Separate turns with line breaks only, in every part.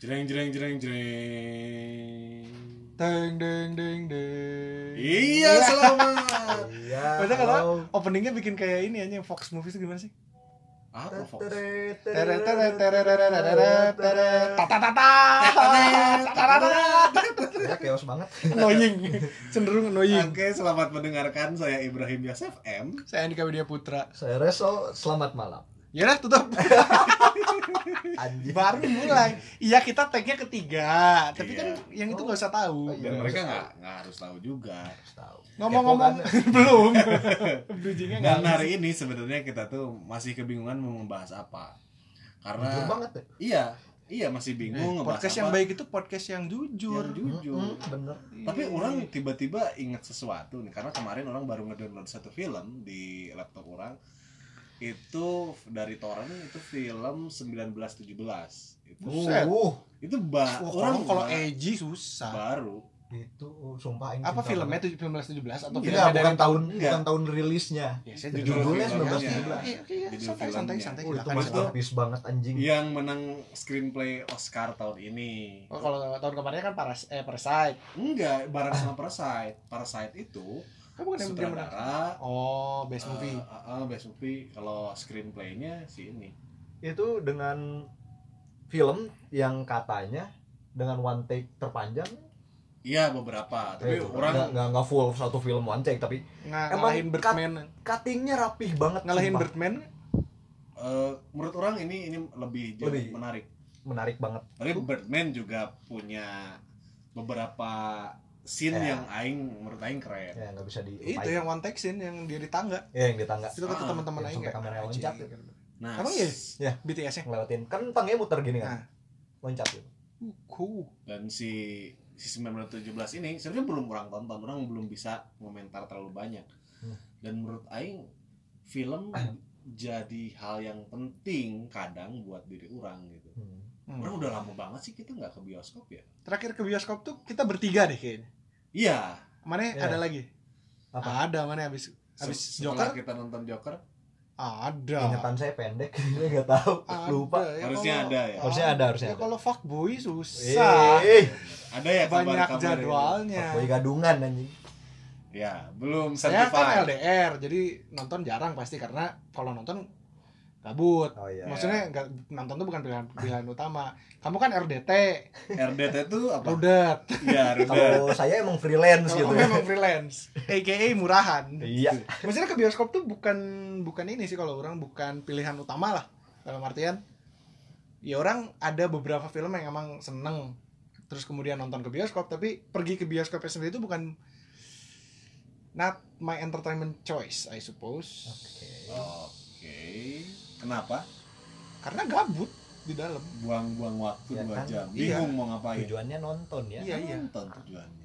Jreng jreng jreng jreng.
Deng deng deng deng.
Iya, selamat.
Iya.
Padahal kalau
halo.
openingnya bikin kayak ini aja yang Fox movies itu gimana sih?
Apa Fox?
Teret,
Teret,
teret,
teret, teret, teret,
teret,
teret, teret.
teret.
Tatatata. Tatatata.
Ya chaos banget.
Annoying. Cenderung annoying.
Oke, selamat mendengarkan. Saya Ibrahim Yasef M.
Saya Andika Widya Putra.
Saya Reso, selamat malam.
Yaudah tutup.
Anjir.
Baru mulai. Iya kita tagnya ketiga. Tapi
Iya.
kan yang itu
Oh.
nggak usah tahu.
Oh,
Dan
iya.
mereka nggak nggak harus tahu juga.
Harus tahu.
Ngomong-ngomong Nah.
Kepo kan?
belum. Bridgingnya nggak.
Dan hari ini sebenarnya kita tuh masih kebingungan mau membahas apa.
jujur
Karena
banget ya.
iya, iya masih bingung ngebahas
Eh, Podcast
apa.
yang baik itu podcast yang jujur.
Yang jujur.
Mm-mm, Hmm, bener.
Tapi
Iya.
orang tiba-tiba ingat sesuatu nih karena kemarin orang baru ngedownload satu film di laptop orang itu dari torrent itu film 1917 itu
Buset.
Uh,
itu ba orang
Wah, Iya. kalau kalau
ba-
Eji susah.
baru
itu uh, sumpah ini
Apa
cinta
filmnya tuh
banget.
1917 atau
Enggak,
filmnya
Enggak, Iya, bukan
dari
tahun
Enggak.
bukan tahun rilisnya.
Ya, saya
Judul
judul
judulnya
filmnya.
1917.
Iya, iya,
Judul
santai, santai,
filmnya.
santai.
Oh, itu
silakan, silakan.
masterpiece banget anjing.
Iya.
yang menang screenplay Oscar tahun ini
Oh, kalau tahun kemarin kan paras eh Parasite.
enggak bareng sama Parasite Parasite itu
Kan bukan yang dia menang.
sutradara
Oh,
eh,
best movie.
eh, eh, best movie kalau screenplaynya si ini
Itu dengan film yang katanya dengan one take terpanjang.
iya beberapa tapi
Eh, enggak-
orang
enggak enggak full satu film one take tapi
Nga-
Emang
ngalahin
cut-
Birdman.
cuttingnya rapih banget
Ngalahin
sumpah.
Birdman.
eh, menurut orang ini ini lebih, jauh
Lebih.
menarik
menarik banget.
Tapi Birdman juga punya beberapa scene
Iya.
Ya.
yang aing menurut aing keren.
Ya nggak bisa di
Itu yang one take scene yang dia di tangga.
ya yang di tangga
Itu
Ah,
kata teman-teman
yang
aing
sampai
kayak,
kameranya
"Ah,
loncat."
anjing."
Nah,
Emang iya?
s-
BTS-nya.
ngelewatin kan tangganya muter gini
Nah.
kan loncat gitu
Uh, Cool.
dan si si 1917 ini sebenarnya belum orang tonton, orang belum bisa komentar terlalu banyak.
Hmm.
Dan menurut aing film jadi hal yang penting kadang buat diri orang gitu.
Hmm.
Hmm.
Orang udah lama banget sih kita nggak ke bioskop ya.
Terakhir ke bioskop tuh kita bertiga deh kayaknya.
Iya.
Mana
Iya.
ada lagi?
apa
Ada mana habis habis
se- setelah
Joker?
kita nonton Joker
Ada.
ingatan Hmm. saya pendek saya nggak tahu lupa
Ada, ya
harusnya
kalau-
ada ya.
Harusnya ada, harusnya
ya
ada.
kalau fuckboy susah.
eh
Ada ya
Banyak
kabar-kabar ini?
jadwalnya.
boy kan gadungan anjing
Ya, belum
Saya kan
certified.
LDR, jadi nonton jarang pasti karena kalau nonton gabut.
oh iya
Maksudnya nggak nonton tuh bukan pilihan pilihan utama. Kamu kan RDT,
RDT itu apa?
rudet.
Iya, Rudet.
kalau saya emang freelance
Kalau
gitu
kamu memang freelance, AKA murahan.
iya
Kan Maksudnya ke bioskop tuh bukan bukan ini sih kalau orang bukan pilihan utama lah dalam artian ya orang ada beberapa film yang emang seneng terus kemudian nonton ke bioskop tapi pergi ke bioskopnya sendiri itu bukan not my entertainment choice I suppose
Oke.
Oke. Kenapa?
karena gabut di dalam
Buang-buang waktu
Ya
dua
kan?
jam.
Iya.
Bingung mau ngapain.
tujuannya nonton ya
Iya, iya.
Nonton tujuannya.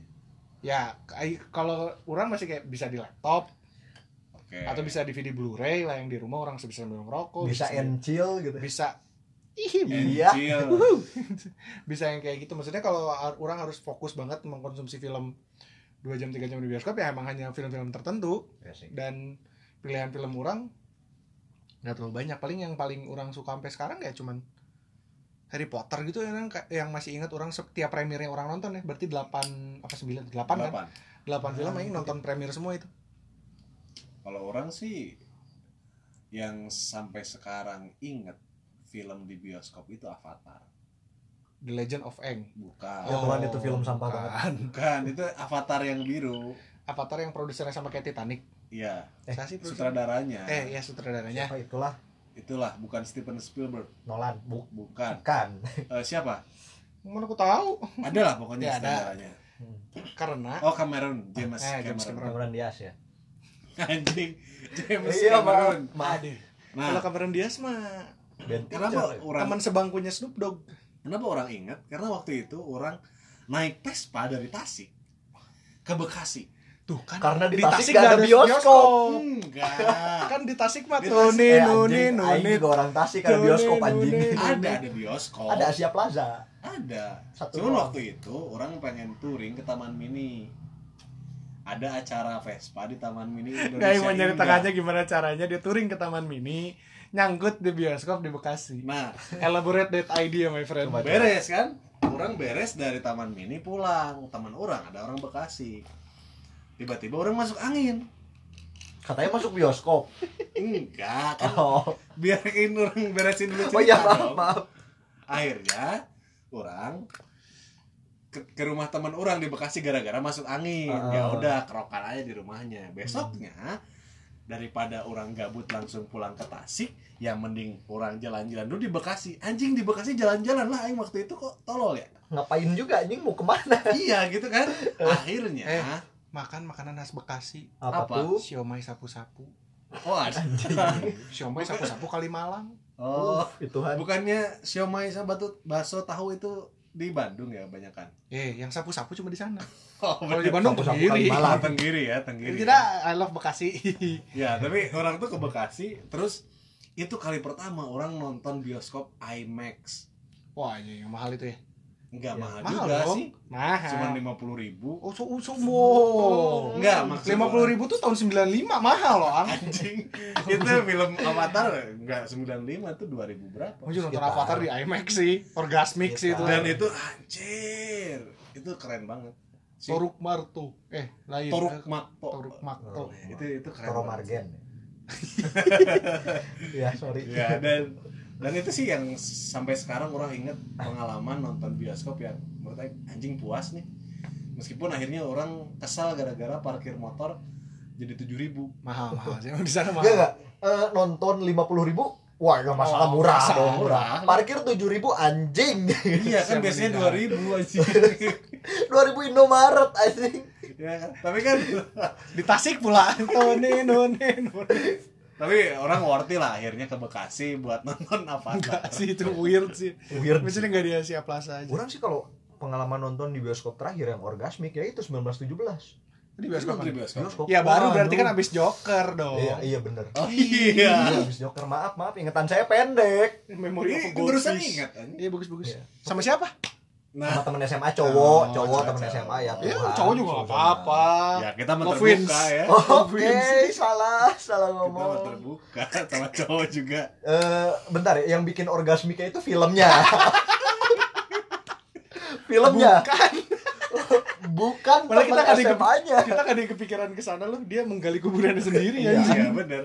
ya I- kalau orang masih kayak bisa di laptop
Oke.
atau bisa DVD Blu-ray lah yang di rumah orang bisa sambil ngerokok
bisa
sambil-
and chill gitu
bisa Ih,
And
Iya.
chill.
bisa yang kayak gitu maksudnya kalau ar- orang harus fokus banget mengkonsumsi film dua jam tiga jam di bioskop ya emang hanya film-film tertentu
Iya sih.
dan pilihan film orang nggak terlalu banyak paling yang paling orang suka sampai sekarang ya cuman Harry Potter gitu yang yang masih ingat orang setiap premiernya orang nonton ya berarti 8 apa 9 8 kan
Delapan.
8 film
Ah,
yang
gitu.
nonton premier semua itu
Kalau orang sih yang sampai sekarang inget film di bioskop itu Avatar.
The Legend of Aang
Ya
Bukan.
Oh.
Tuhan, itu film sampah
bukan.
Bukan, itu Avatar yang biru.
Avatar yang produsernya sama kayak Titanic
Iya,
Eh,
Saya sih produser.
sutradaranya.
eh ya sutradaranya
siapa itulah
Itulah, bukan Steven Spielberg.
Nolan Bu-
Bukan.
bukan
Eh, siapa?
mana aku tahu
Adalah pokoknya
Ya, ada.
sutradaranya.
Hmm.
karena
Oh Cameron, James
Eh, James
Cameron.
Cameron Diaz ya
Anjing, James
iya maaf
Cameron.
maaf
aduh kalau
Nah,
Cameron Diaz mah
Ben
kenapa
Stiller.
orang
teman sebangkunya Snoop Dogg
kenapa orang ingat? Karena waktu itu orang naik Vespa dari Tasik ke Bekasi.
tuh kan
karena di
nggak
Tasik
Hmm.
gak ada bioskop
Enggak.
kan di Tasik mah
Di
tuh
Tasik.
nih
Eh,
no
anjing,
nih, no,
aing
nih.
juga orang Tasik ada
None,
bioskop
none.
anjing
ada ada bioskop.
ada Asia Plaza
Ada.
satu
Cuman
doang.
waktu itu orang pengen touring ke Taman Mini. Ada acara Vespa di Taman Mini Indonesia.
Nah, yang mau
Indah.
nyari tangannya gimana caranya dia touring ke Taman Mini nyangkut di bioskop di Bekasi.
Nah,
Elaborate that idea my friend.
Coba.
beres kan orang beres dari taman mini pulang teman orang ada orang bekasi tiba-tiba orang masuk angin
Katanya masuk bioskop.
enggak kan
Oh,
biarin orang beresin dulu cerita
oh iya maaf
dong.
maaf.
akhirnya orang ke, ke rumah teman orang di bekasi gara-gara masuk angin
Ah.
ya udah kerokan aja di rumahnya besoknya daripada orang gabut langsung pulang ke Tasik ya mending orang jalan-jalan dulu di Bekasi anjing di Bekasi jalan-jalan lah aing waktu itu kok tolol ya
Ngapain juga anjing mau kemana?
iya gitu kan akhirnya
Eh. Makan makanan khas Bekasi,
Apa,
Apa?
tuh?
siomay sapu-sapu.
oh ada
Anjing.
Siomay sapu-sapu Kalimalang.
oh
Ya Tuhan.
bukannya siomay sama batu bakso tahu itu di Bandung ya banyak kan
Eh, yang sapu-sapu cuma di sana.
oh
Kalau di Bandung
Sapu-sapu
sendiri.
Kalimalang.
Malah tenggiri ya tenggiri
Tidak, I love Bekasi.
ya tapi orang tuh ke Bekasi terus itu kali pertama orang nonton bioskop IMAX
Wah, ini yang mahal itu ya.
nggak
Ya,
mahal,
mahal
juga
dong.
sih
Mahal.
cuman lima puluh ribu
Oh, so, so wow.
Enggak, maksud
Oh. lima puluh ribu tuh tahun 95 mahal loh,
Iya,
Ang.
anjing itu film Avatar nggak sembilan lima tuh dua ribu berapa
Mau juga nonton
Sekitar.
Avatar di IMAX sih, orgasmik sih itu.
dan itu anjir itu keren banget si Toruk,
Toruk Marto, eh lain. Eh,
Makpo
Toruk Marto.
Oh.
itu itu keren
Toro
banget.
Margen. ya sorry.
ya dan dan itu sih yang sampai sekarang orang inget pengalaman nonton bioskop yang menurut saya anjing puas nih meskipun akhirnya orang kesal gara-gara parkir motor jadi tujuh ribu
Mahal mahal sih, emang di sana
Enggak
mahal.
enggak. Eh, nonton 50 ribu Wah, gak masalah
Oh,
murah
masalah,
dong,
murah.
murah. Parkir 7000 ribu anjing.
iya kan
Siapa
biasanya
nih,
dua ribu anjing
2000 ribu Indomaret anjing.
ya, kan? tapi kan
Di Tasik pula, Tone None None.
tapi orang worth it lah akhirnya ke Bekasi buat nonton
Enggak
Avatar
sih itu weird sih.
Weird.
Maksudnya enggak di Asia Plaza aja.
Orang sih kalau pengalaman nonton di bioskop terakhir yang orgasmik ya itu 1917.
Di bioskop.
Nonton di
mana?
bioskop
Ya baru berarti kan abis
abis
Joker dong.
Iya, iya bener.
oh iya
Abis Joker, maaf, maaf, ingetan saya pendek.
Memori
Ini barusan ingat anjing.
Iya bagus-bagus.
Iya.
Sama siapa?
nah
Sama temen SMA cowok,
Oh,
cowok temen
cowok.
SMA ya.
Ya
Tuhan,
cowok juga
cowok
enggak apa-apa.
ya kita mah
Love wins.
terbuka ya
sama. Oke,
Wins.
salah, salah
kita mah
ngomong.
terbuka sama cowok juga
Eh, bentar ya, yang bikin orgasmiknya itu filmnya. filmnya,
Bukan.
bukan
Malah kita
temen
nggak di-
SMA-nya.
Kita enggak ada yang kepikiran ke sana loh, dia menggali kuburannya sendiri
Iya.
anjing.
iya bener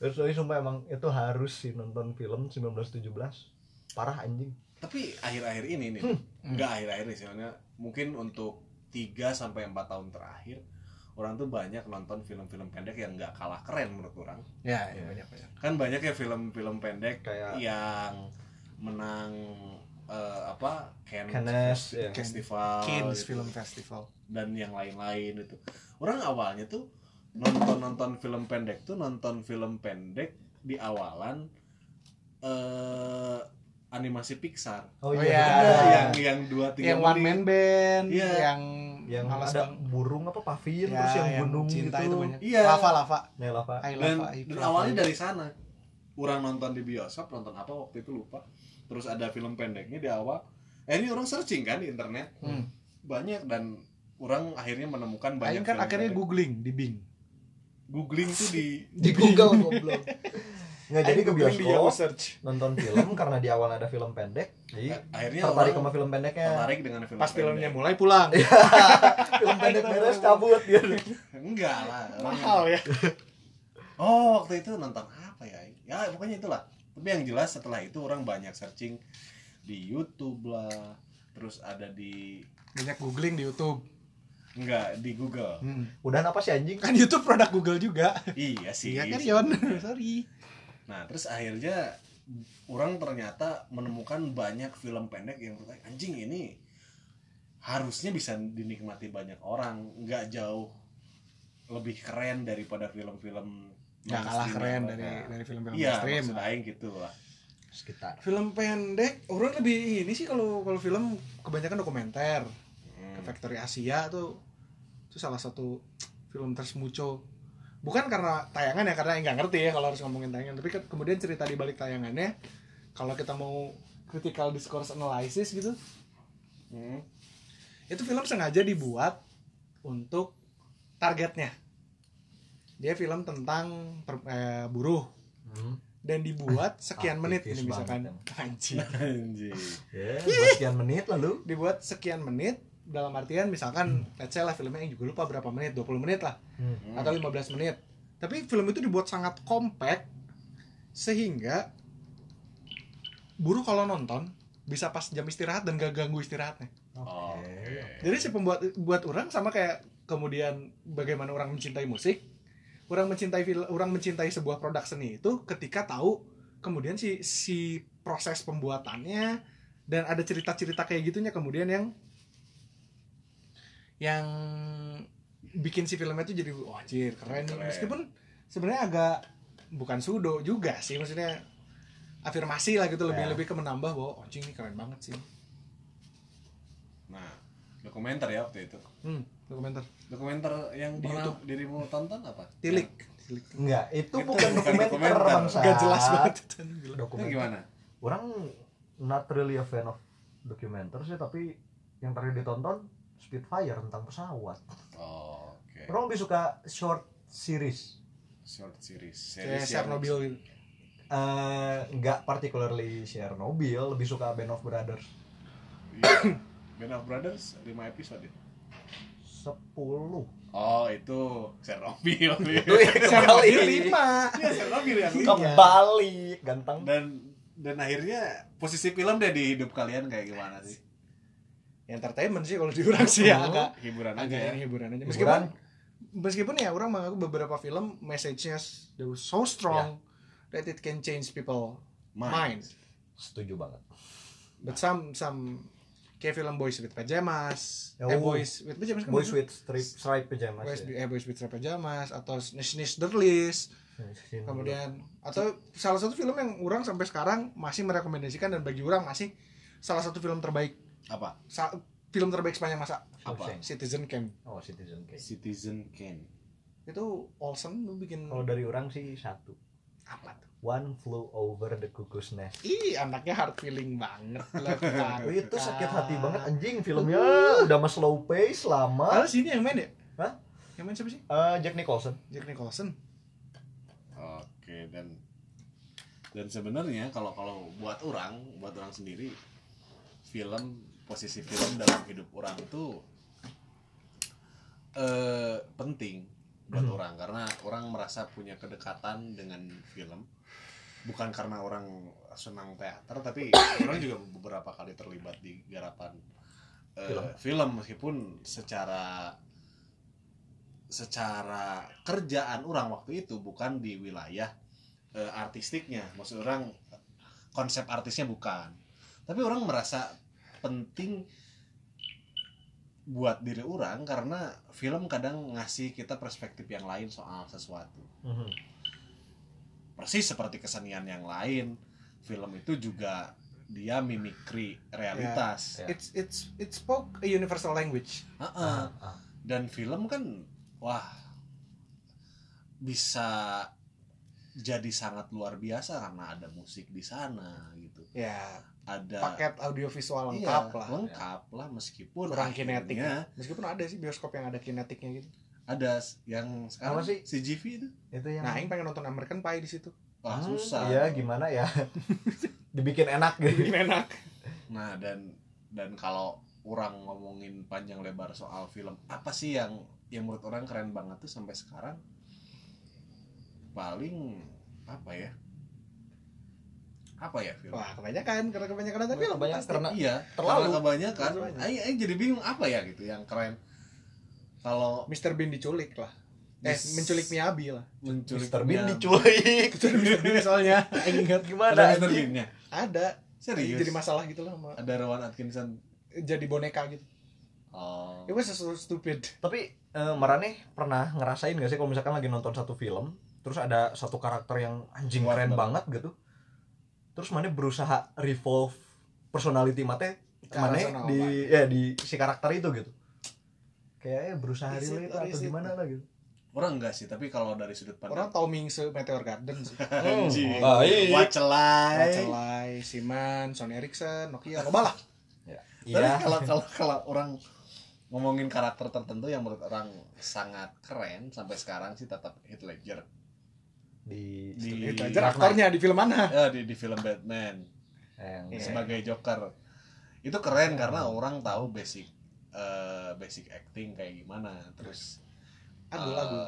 Terus tapi Eh, sumpah emang itu harus sih nonton film 1917. Parah anjing.
tapi akhir-akhir ini nih
Hmm.
nggak akhir-akhir ini soalnya mungkin untuk 3 sampai empat tahun terakhir orang tuh banyak nonton film-film pendek yang nggak kalah keren menurut orang
Ya,
iya,
banyak-banyak.
kan banyak ya film-film pendek
Kayak
yang menang eh, apa Cannes,
Cannes,
Festi-
ya.
Festival
Kins
gitu,
Film Festival.
dan yang lain-lain itu orang awalnya tuh nonton nonton film pendek tuh nonton film pendek di awalan eh animasi Pixar
Oh,
Oh,
iya.
iya.
ada
bener.
yang yang dua tiga
yang one man band,
Iya.
yang
yang
malas
ada
bang-
burung apa
Ya,
pavin terus yang gunung
cinta
gitu.
itu banyak.
Iya.
Lava lava.
Ya, lava.
I
dan,
love I
dan
love.
awalnya dari sana orang nonton di bioskop nonton apa waktu itu lupa terus ada film pendeknya di awal eh ini orang searching kan di internet
Hmm.
banyak dan orang akhirnya menemukan banyak
Aing kan
film
akhirnya
pendek.
googling di Bing.
googling tuh di
Di Google goblok. Nggak jadi
Aing
ke
googling di Yahoo
bioskop
search.
nonton film karena di awal ada film pendek. Jadi
eh, akhirnya
tertarik sama
orang
film pendeknya.
tertarik dengan film
Pas filmnya
pendek.
mulai pulang.
film pendek beres cabut dia.
enggak lah orang
Mahal ya.
Oh, waktu itu nonton apa ya? Ya, pokoknya itulah. Tapi yang jelas setelah itu orang banyak searching di YouTube lah, terus ada di
Banyak googling di YouTube.
enggak di Google.
Hmm.
Udah apa sih anjing?
Kan YouTube produk Google juga.
iya sih.
Iya kan Yon? Sorry.
Nah, terus akhirnya orang ternyata menemukan banyak film pendek yang menurut saya, anjing ini harusnya bisa dinikmati banyak orang, nggak jauh lebih keren daripada film-film
Gak kalah
mainstream
keren
yang
dari
mereka-
dari film-film
Iya,
mainstream.
maksud aing gitu lah.
Sekitar.
Film pendek, orang lebih ini sih kalau kalau film kebanyakan dokumenter. ke
Hmm.
Factory Asia tuh itu salah satu film tersmuco bukan karena tayangan ya karena nggak ngerti ya kalau harus ngomongin tayangan tapi ke- kemudian cerita di balik tayangannya kalau kita mau critical discourse analysis gitu
Hmm.
itu film sengaja dibuat untuk targetnya dia film tentang per- eh, buruh
Hmm.
dan dibuat sekian menit
aktivis
ini misalkan
banget
anjing
Anjing.
Ya, buat sekian menit lalu.
dibuat sekian menit dalam artian misalkan let's say lah filmnya yang juga lupa berapa menit 20 menit lah
Hmm.
atau 15 menit tapi film itu dibuat sangat compact sehingga buruh kalau nonton bisa pas jam istirahat dan gak ganggu istirahatnya
Oke.
jadi si pembuat buat orang sama kayak kemudian bagaimana orang mencintai musik, orang mencintai fil- orang mencintai sebuah produk seni itu ketika tahu kemudian si si proses pembuatannya dan ada cerita-cerita kayak gitunya kemudian yang yang bikin si filmnya itu jadi wah anjir keren, nih."
Keren.
meskipun sebenarnya agak bukan sudo juga sih maksudnya afirmasi lah gitu lebih
Ya.
lebih ke menambah bahwa "Oh, anjing ini keren banget sih
Nah, dokumenter ya waktu itu.
hmm, dokumenter
Ya. Dokumenter yang
Di
pernah dirimu tonton apa?
tilik tilik
Enggak, itu
Itu
bukan
bukan
dokumenter,
dokumenter.
bangsa.
Gak jelas banget
Itu
Dokumenter.
gimana?
Orang not really a fan of dokumenter sih, tapi yang tadi ditonton Spitfire tentang pesawat.
Oh, Oke.
Orang lebih suka short series.
Short series. Series
Kayak
yang-
Chernobyl gitu
Oh, Eh, Enggak particularly Chernobyl, lebih suka Band of Brothers.
Iya. Band of Brothers 5 episode ya.
10
Oh, itu Chernobyl.
Itu ya kembali
Chernobyl 5
Iya, Chernobyl yang
Iya.
Kembali Ganteng
dan dan akhirnya posisi film deh di hidup kalian kayak gimana sih?
Ya, Entertainment sih kalau diurang sih ya
Hmm.
agak
Hiburan aja
Agak
ya.
ini hiburan aja
Hiburan.
Meskipun Meskipun ya orang mengaku beberapa film Message-nya jauh so strong
Ya.
That it can change people
Mine.
minds
Setuju banget
But some some Kayak film Boys with Pajamas Eh
Oh.
Boys with Pajamas kan
Boys
bukan?
with strip, stripe pajamas
Boys, eh,
ya.
Boys with Pajamas Atau Snitch Snitch The List
Sini dulu.
kemudian atau salah satu film yang orang sampai sekarang masih merekomendasikan dan bagi orang masih salah satu film terbaik
Apa?
sa- film terbaik sepanjang masa
Shawshank.
Citizen Kane
Oh Citizen Kane
Citizen Kane.
itu Olsen lu bikin
Kalau dari orang sih satu
apa tuh
One flew over the cuckoo's nest
ih anaknya hard feeling banget lah Kak.
Oh, itu sakit hati banget anjing filmnya udah mah slow pace lama
Padahal sini yang main ya
Hah?
yang main siapa sih
Eh, Jack Nicholson
Jack Nicholson
Oke dan dan sebenarnya kalau kalau buat orang buat orang sendiri film posisi film dalam hidup orang tuh eh penting buat orang karena orang merasa punya kedekatan dengan film bukan karena orang senang teater tapi orang juga beberapa kali terlibat di garapan eh,
Film.
film meskipun secara secara kerjaan orang waktu itu bukan di wilayah eh, artistiknya maksud orang konsep artisnya bukan tapi orang merasa penting buat diri orang karena film kadang ngasih kita perspektif yang lain soal sesuatu
Mhm.
persis seperti kesenian yang lain film itu juga dia mimikri realitas
Ya.
it's it's it spoke a universal language
Heeh.
Ah, ah.
dan film kan wah bisa jadi sangat luar biasa karena ada musik di sana gitu
ya
ada
paket
Iya,
audiovisual lengkap
ya.
lah
lengkap lah meskipun
kurang
akhirnya
kinetik meskipun ada sih bioskop yang ada kinetiknya gitu
ada s- yang sekarang
Apa sih?
CGV itu
itu yang
nah Aing pengen nonton American Pie di situ
wah
Hmm,
susah
iya gimana ya dibikin enak gitu
enak
nah dan dan kalau orang ngomongin panjang lebar soal film apa sih yang yang menurut orang keren banget tuh sampai sekarang paling apa ya apa ya film
Wah, kebanyakan karena kebanyakan nonton film.
Kebanyakan
pasti.
karena
iya
terlalu.
karena kebanyakan
Terlalu banyak.
Aing aing jadi bingung apa ya gitu yang keren kalau
Mr. Bean diculik lah. Eh,
Yes.
menculik Miyabi lah.
menculik
Mr. Bean
Miyabi.
diculik
Itu Mr. Bean soalnya. Aing ingat
ada
gimana
Mr.
anjing?
Bean-nya
ada
serius
jadi masalah gitu lah sama
ada Rowan Atkinson
jadi boneka gitu.
oh
It was so stupid.
Tapi eh, Marane pernah ngerasain gak sih kalau misalkan lagi nonton satu film, terus ada satu karakter yang anjing
Kuat
keren
banget.
banget gitu. Terus Mane berusaha revolve personality Mate
Ke arah
Mane
sana, oh
di ya di si karakter itu gitu. Kayaknya berusaha
Is it
relate
or
atau
is it?
gimana lah gitu.
orang enggak sih tapi kalau dari sudut
Orang
pandang
tau Mingse Meteor Garden sih.
Anjing.
Hmm, baik.
wacelai
Wacelai, Siman, Sony Ericsson, Nokia, loba lah.
Tapi
Iya.
kalau kalau kalau orang ngomongin karakter tertentu yang menurut orang sangat keren sampai sekarang sih tetap Heath Ledger.
di,
Di-
Iya,
Itu aja
Dark Knight.
aktornya di film mana?
ya, di di film Batman
yang
Iya.
sebagai Joker itu keren karena orang tahu basic eh, basic acting kayak gimana terus
Agul,
eh,
agul.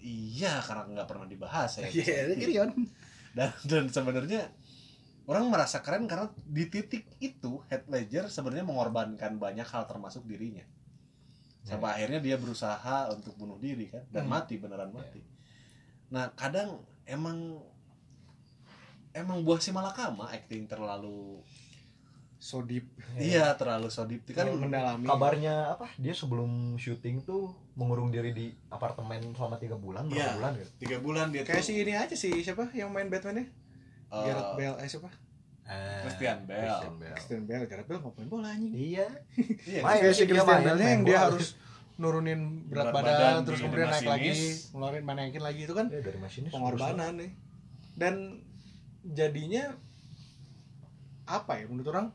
iya karena nggak pernah dibahas ya
Iya, Kirion.
dan dan sebenarnya orang merasa keren karena di titik itu Heath Ledger sebenarnya mengorbankan banyak hal termasuk dirinya sampai akhirnya dia berusaha untuk bunuh diri kan dan
Iya. Hmm.
mati beneran mati nah kadang emang emang buah si malakama acting terlalu
So deep.
iya terlalu so deep kan
Terlalu mendalami.
kabarnya apa dia sebelum syuting tuh mengurung diri di apartemen selama tiga bulan berapa
Iya.
bulan gitu
tiga bulan dia
Kayak
tuh,
si ini aja sih siapa yang main Batman-nya?
eh,
Gareth Bale eh siapa?
Christian Bale.
Christian Bale, Gareth Bale ngapain bola anjing.
iya
iya,
Main.
Kayak si
Dia
Christian
main,
Bale-nya
main
yang dia
bola.
harus nurunin berat,
Berat
badan,
badan,
terus
di
kemudian naik lagi,
masinis.
ngeluarin naikin lagi itu
Iya,
kan
Dia dari masinis
pengorbanan nih. Dan jadinya apa ya menurut orang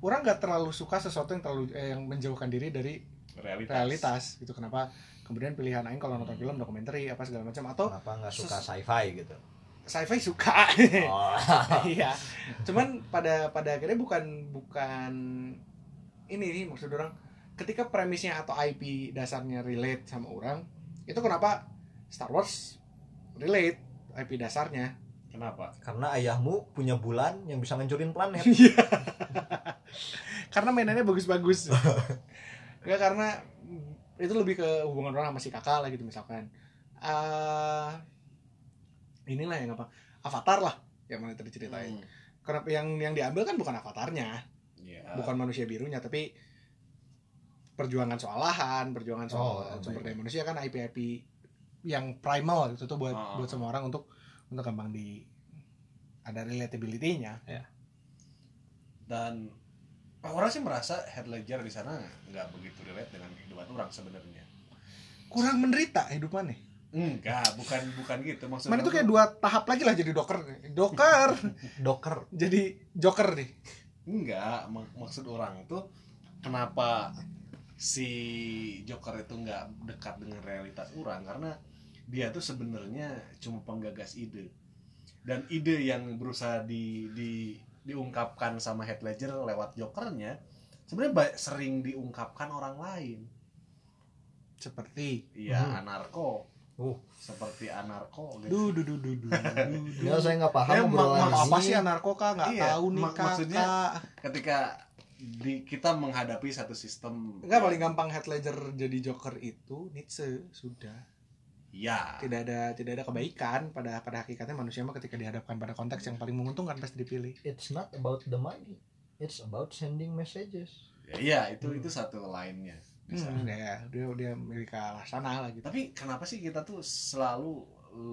orang nggak terlalu suka sesuatu yang terlalu eh, yang menjauhkan diri dari
realitas,
realitas gitu kenapa kemudian pilihan aing kalau nonton film dokumenter apa segala macam atau
kenapa nggak suka sci-fi gitu
sci-fi suka
oh.
iya cuman pada pada akhirnya bukan bukan ini nih maksud orang ketika premisnya atau IP dasarnya relate sama orang itu kenapa Star Wars relate IP dasarnya
kenapa
Hmm.
karena ayahmu punya bulan yang bisa ngancurin planet
karena mainannya bagus-bagus nggak karena mm, itu lebih ke hubungan orang sama si kakak lah gitu misalkan Eh, inilah yang apa Avatar lah yang mana tadi ceritain
Hmm.
karena yang yang diambil kan bukan avatarnya
Iya.
bukan manusia birunya tapi perjuangan soal lahan, perjuangan
Oh,
soal
iya,
sumber
baik.
daya manusia kan IP IP yang primal gitu tuh buat
Ah.
buat semua orang untuk untuk gampang di ada relatability-nya.
dan oh, orang sih merasa Heath Ledger di sana nggak begitu relate dengan kehidupan orang sebenarnya
Kurang menderita hidup mana?
enggak bukan bukan gitu maksudnya
Mana tuh kayak dua tahap lagi lah jadi doker. Doker.
doker
jadi joker nih.
enggak mak- maksud orang tuh kenapa si Joker itu nggak dekat dengan realitas orang karena dia tuh sebenarnya cuma penggagas ide dan ide yang berusaha di, di diungkapkan sama Heath Ledger lewat Jokernya sebenarnya ba- sering diungkapkan orang lain
Seperti
iya
Hmm.
anarko
uh
seperti anarko gitu.
du du du du du. du.
ya saya nggak paham
Ya, mak-
obrolan
Mak,
ini.
apa sih anarko kak? Nggak
Iya,
tahu nih
mak-
kakak.
maksudnya ketika di kita menghadapi satu sistem
Enggak paling gampang head ledger jadi joker itu Nietzsche sudah.
ya
tidak ada tidak ada kebaikan pada pada hakikatnya manusia mah ketika dihadapkan pada konteks yang paling menguntungkan pasti dipilih
it's not about the money it's about sending messages
Ya, Iya, itu
Hmm.
itu satu lainnya. di sana.
hmm. dia dia dia milik arah sana lah gitu
Tapi kenapa sih kita tuh selalu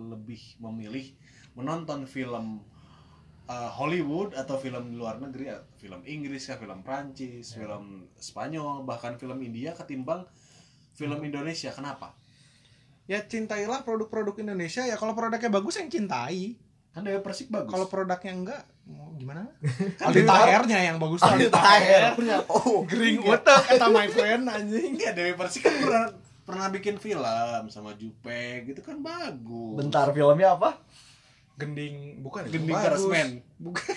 lebih memilih menonton film eh, Hollywood atau film di luar negeri, eh, film Inggris kah, film Prancis,
Iya.
Ya.
film Spanyol, bahkan film India ketimbang film
Hmm.
Indonesia. Kenapa?
ya cintailah produk-produk Indonesia ya kalau produknya bagus yang cintai
Kan Dewa Persik bagus.
kalau produknya enggak mau gimana
Kan
Aldi
Dewi-
Tahernya yang bagus tuh Aldi Taher Iya.
oh
Gering utek kata my friend anjing
enggak Dewi Persik kan pernah pernah bikin film sama Jupe gitu kan bagus.
bentar filmnya apa
Gending bukan itu
Gending
bagus.
Terasmen.
bukan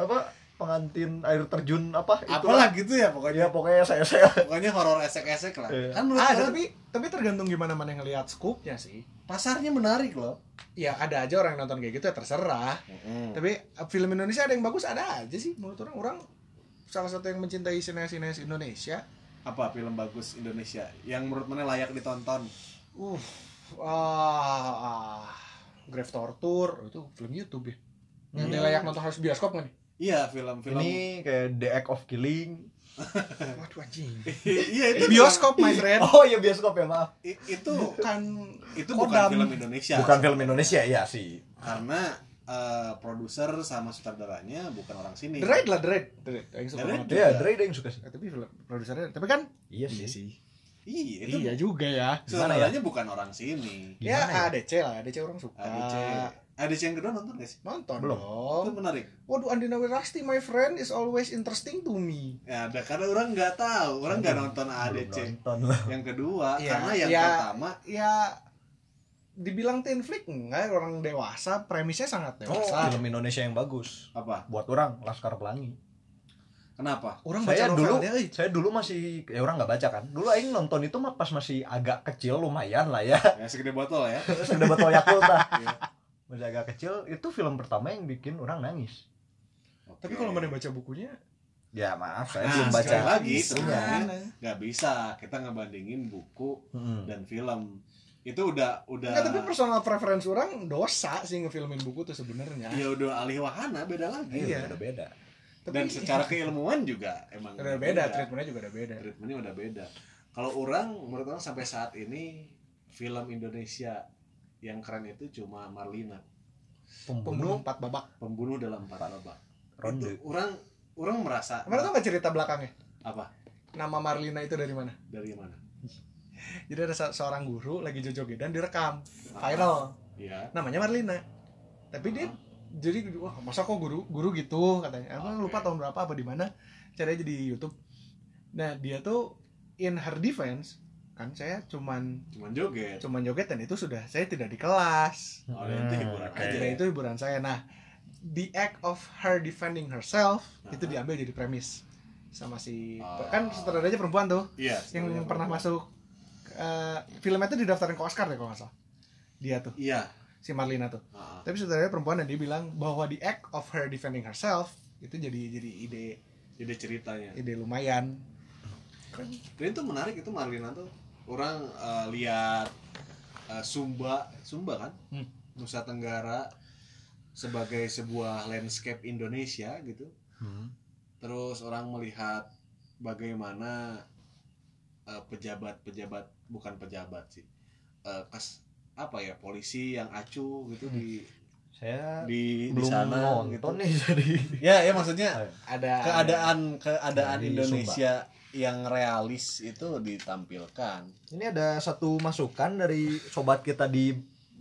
apa pengantin air terjun apa itu
Apalah gitu
ya
ya pokoknya.
pokoknya saya saya
Pokoknya horor esek-esek lah.
Iya.
Kan menurut
Iya. ada
orang
Ah, tapi tapi tergantung gimana mana ngelihat scoopnya sih
pasarnya menarik loh.
ya ada aja orang yang nonton kayak gitu ya terserah Tapi uh, film Indonesia ada yang bagus ada aja sih menurut orang orang salah satu yang mencintai sineas-sineas Indonesia.
apa film bagus Indonesia yang menurut mana layak ditonton
Uh, ah, ah, Grave Torture itu film YouTube ya. Yang
Hmm.
layak nonton harus bioskop nggak nih?
iya film-film
ini kayak The Act of Killing
Waduh anjing.
iya itu
bioskop my friend. Kan
oh ya bioskop ya maaf
film- i- itu
Bukan
itu bukan
Kodam.
film Indonesia
bukan film Indonesia ya sih
karena eh, produser sama sutradaranya bukan orang sini
Dread lah Dread. Dread. Yang suka
Dread?
banget.
Iya, Dre ada yang suka sih.
Eh, tapi film produsernya tapi kan
Iya
iya itu
Iya juga ya.
sutradaranya bukan orang sini
Gimana ya?
ya ADC lah, ADC orang suka.
ADC ADC yang Eh, kedua nonton gak sih
Nonton
Belum.
dong.
itu menarik
Waduh Andina Wirasti my friend is always interesting to me.
ya ada- karena orang nggak tahu orang nggak nonton
Belum
ADC
nonton lah.
yang kedua
Iya,
karena yang
iya.
pertama
ya dibilang teen flick enggak orang dewasa premisnya sangat
Oh,
dewasa
film Indonesia yang bagus
apa
buat orang Laskar Pelangi
kenapa
orang baca
saya dulu
novelnya eh.
saya dulu masih ya orang nggak baca kan dulu aing nonton itu mah pas masih agak kecil lumayan lah ya
ya segede botol ya
sudah botol Yakult lah
Iya.
masih agak kecil itu film pertama yang bikin orang nangis
Oke.
tapi kalau mana baca bukunya
ya maaf saya
Nah,
belum baca
sekali lagi,
Iya.
kan?
sebenarnya. nggak bisa kita ngebandingin buku
Mm-mm.
dan film itu udah udah
Enggak, tapi personal preference orang dosa sih ngefilmin buku tuh sebenarnya.
ya udah alih wahana beda lagi
Iya.
udah beda
Tapi-
dan
iya.
secara keilmuan juga emang
udah beda, treatmentnya juga udah beda.
treatmentnya udah beda kalau orang menurut orang sampai saat ini film Indonesia yang keren itu cuma Marlina
pembunuh
Pembunuh empat babak.
pembunuh dalam empat babak
ronde
Itu orang orang merasa
Kemarin tau nggak cerita belakangnya?
apa
Nama Marlina itu dari mana?
dari mana
Jadi ada se- seorang guru lagi jojogedan direkam viral.
Iya.
Namanya Marlina. Tapi dia jadi wah masa kok guru guru gitu katanya. Aku
Oke.
lupa tahun berapa apa di mana. Cari aja di YouTube. Nah dia tuh in her defense kan saya cuman
cuman joget
cuman joget dan itu sudah saya tidak di kelas.
Oh, itu
Hmm,
hiburan
oke.
aja.
Nah, itu hiburan saya. Nah, the act of her defending herself itu
Aha.
diambil jadi premis sama si
Ah.
kan sutradaranya perempuan tuh
iya
yang
sebenarnya
pernah
perempuan.
masuk eh, filmnya tuh didaftarin ke Oscar deh kalau nggak salah. Dia tuh
iya
si Marlina tuh.
Ah, ah.
Tapi sutradaranya perempuan dan dia bilang bahwa the act of her defending herself itu jadi jadi ide
jadi ceritanya
ide lumayan.
Dan itu menarik itu Marlina tuh orang eh, lihat eh, Sumba Sumba kan
Hmm.
Nusa Tenggara sebagai sebuah landscape Indonesia gitu
Hmm.
terus orang melihat bagaimana eh, pejabat-pejabat bukan pejabat sih eh, kes apa ya polisi yang acuh gitu di
saya
di di
Hmm. belum
sana
nonton
gitu
nih jadi
ya ya maksudnya
Ada
keadaan keadaan
Dari
Indonesia yang realis itu ditampilkan
ini ada satu masukan dari sobat kita di